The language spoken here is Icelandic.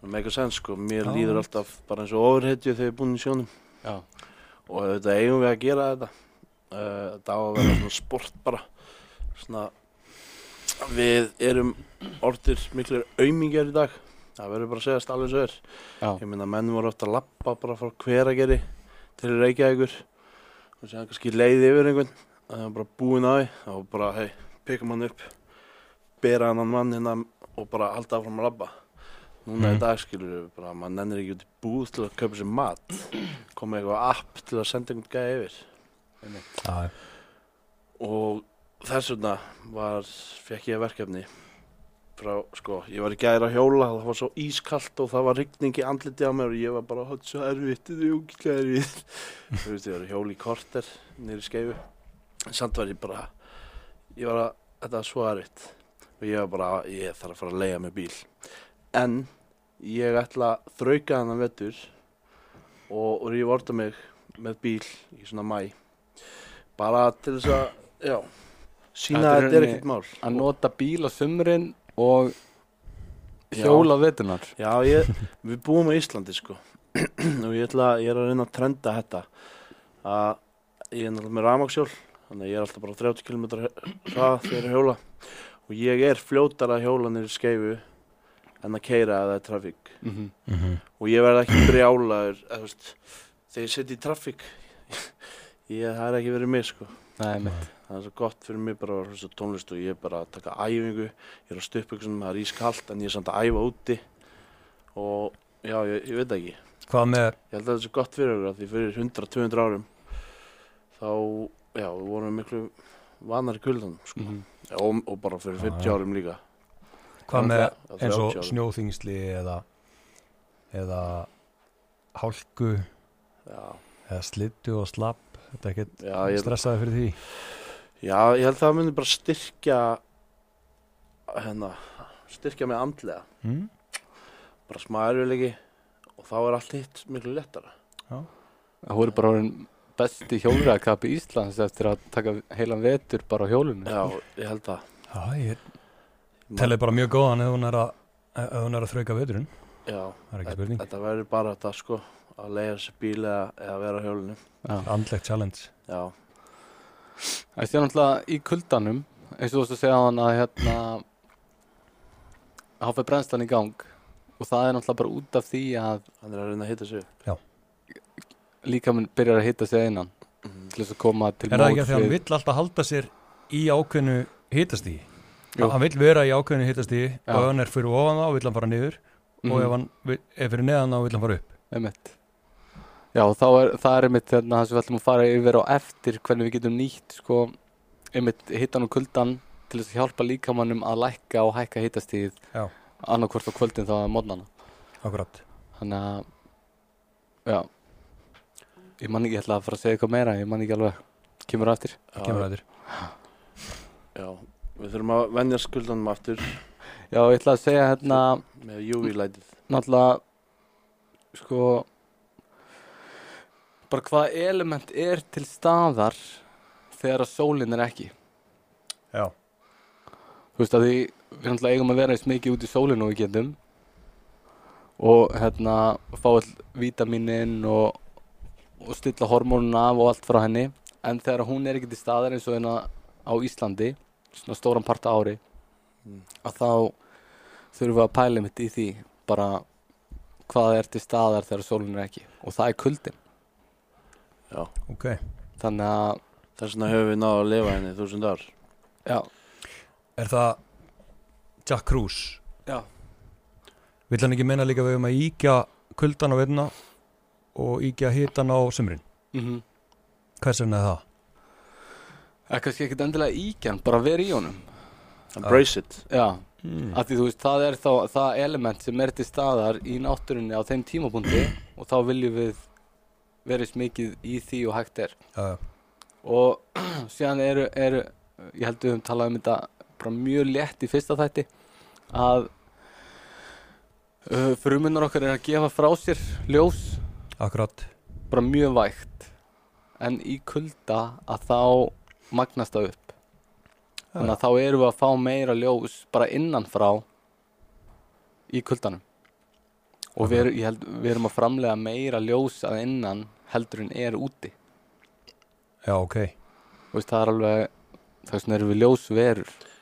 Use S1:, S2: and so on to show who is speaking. S1: það make a sense sko, mér
S2: Já.
S1: líður alltaf bara eins og ofurhetju þegar ég er búinn í sjónum
S2: Já.
S1: og auðvitað eigum við að gera þetta uh, þetta á að vera svona sport bara svona við erum orðir miklir aumingjar í dag það verður bara að segjast alveg svo er
S2: Já.
S1: ég meina menn voru oft að lappa bara frá hverageri til Reykjavíkur og séðan kannski leið yfir einhvern að það var bara búinn á því það var bara hei, pikkum hann upp bera hann mann hérna og bara halda áfram að labba núna
S2: Mhm.
S1: í dag skilur við bara að maður nennir ekki út í búð til að kaupa sér mat koma eitthvað app til að senda einhvern gæði yfir
S3: Já,
S1: og þess vegna var, fekk ég verkefni frá, sko, ég var í gæri að hjóla það var svo ískalt og það var rigning í andliti á mér og ég var bara, hótt, svo erfitt þetta er ógæðlega erfitt þú veist, ég var í hjóli í korter, niður í skeifu en samt var ég bara ég var að, þetta var svo erfitt og ég var bara, ég þarf að fara að leiða með bíl en ég ætla að þrauka hennan vettur og, og ég vorta mig með bíl í svona mæ bara til þess að, já sína
S2: Þetta
S1: að
S2: er
S1: þetta er
S2: rauninni
S1: ekkert mál
S2: Að nota bíl á sumrin og
S1: Já.
S2: hjóla á vetunar.
S1: Já, ég, við búum á Íslandi sko og ég, ætla, ég er að reyna að trenda þetta að ég er náttúrulega með rafmaksjól þannig að ég er alltaf bara 30 km hrað þegar ég er að hjóla og ég er fljótar að hjóla niður í skeifu en að keira að það er trafík
S2: Mm -hmm.
S3: mhm.
S1: og ég verð ekki brjálaður eða, þú veist, þegar ég setja í trafík ég, það er ekki verið mig sko
S2: Nei, mitt.
S1: það er svo gott fyrir mig bara að hlusta á tónlist og ég er bara að taka æfingu ég er að stuppa ykkur sem það er ískalt en ég er samt að æfa úti og já, ég, ég veit það ekki ég
S3: Hvað með,
S1: held að það er svo gott fyrir okkur af því fyrir 100-200 árum þá, já, við vorum miklu vanar í kuldanum sko.
S2: Mm -hmm.
S1: og, og bara fyrir 50
S3: Mhm. Já, já.
S1: árum líka
S3: hvað með
S1: Náttúrulega
S3: eins
S1: 30
S3: og
S1: árum.
S3: snjóþingsli eða eða hálku
S1: já,
S3: eða slittu og slapp þetta er ekkert
S1: já, ég,
S3: stressaði fyrir því
S1: já, ég held að það myndi bara styrkja hérna, styrkja mig andlega
S3: mm?
S1: bara smá erfiðleiki og þá er allt hitt miklu lettara
S2: Það voru bara orðin besti hjólræðakapi Íslands eftir að taka heilan vetur bara á hjólunni.
S1: já, ég held að
S3: Já, ég telið bara mjög góðan ef hún er að, ef hún er að þrauka veturinn
S1: Já,
S3: það er ekki
S1: þetta-
S3: spurning
S1: þetta verður bara þetta sko að leiða sér bíl eða, eða vera á hjólinu
S2: Já.
S3: andlegt challenge
S1: Já,
S2: Það sé náttúrulega í kuldanum eins og þú veist að segja á hann að hérna að hafa brennslan í gang og það er náttúrulega bara út af því að
S1: hann er að reyna að hitta sig upp.
S2: líkaminn byrjar að hitta sig innan
S1: Mhm.
S2: til þess að koma til
S3: er það ekki
S2: móts
S3: að því að hann
S2: við-
S3: vill alltaf halda sér í ákveðnu hitastígi
S2: Jú.
S3: hann vill vera í ákveðnu hitastígi
S2: Já.
S3: og ef hann er fyrir ofan þá vill hann fara niður og ef
S2: Mhm,
S3: hann vi- er fyrir neðan þá vill hann fara upp
S2: einmitt. Já, þá er, það er einmitt þarna það sem við ætlum að fara yfir á eftir hvernig við getum nýtt sko, einmitt hittan og kuldan til þess að hjálpa líkamannum að lækka og hækka hittastíð
S3: Já.
S2: annarkvort á kvöldin þá að mótnana
S3: akkurat
S2: þannig að já ég man ekki, ég ætla að fara að segja eitthvað meira ég man ekki alveg, kemur á eftir
S3: það kemur að þér
S1: Já, við þurfum að venja skuldanum aftur
S2: já, ég ætla að segja hérna
S1: með UV-lætið
S2: náttúrulega sko bara hvaða element er til staðar þegar að sólin er ekki
S3: já
S2: þú veist að því við náttúrulega eigum að vera eins mikið út í sólinu og við getum og hérna fá all vítaminin og, og stilla hormónun af og allt frá henni en þegar hún er ekki til staðar eins og hérna á Íslandi svona stóran part á ári
S1: Mm.
S2: að þá þurfum við að pæla mitt í því bara hvað er til staðar þegar sólinu er ekki og það er kuldin
S1: Já,
S3: ok
S2: þannig að
S1: þess vegna höfum við náðu að lifa henni í þúsund ár
S2: já,
S3: er það Jack Cruz
S2: já,
S3: Vill hann ekki meina líka að við um að íkja kuldan á veituna og íkja hitan á sumrin?
S2: mhm
S3: Hvers vegna er það?
S2: Það er kannski ekkert endilega íkjan, bara verið í honum
S1: Embrace it
S2: Já,
S3: Mm.
S2: af því þú veist, það er þá það element sem er til staðar í náttúrunni á þeim tímapunkti og þá viljum við verið smikið í því og hægt er
S3: Já, já.
S2: og síðan eru, eru ég held við höfum talað um þetta bara mjög létt í fyrsta þætti að uh, frumunnar okkar er að gefa frá sér ljós,
S3: akkurat.
S2: bara mjög vægt en í kulda að þá magnast það upp þannig að þá erum við að fá meira ljós bara innanfrá í kuldanum og við, erum- ég held, við erum að framlega meira ljós að innan heldur en er úti
S3: já, ok
S2: Þú veist, það er alveg þess vegna erum við ljós verur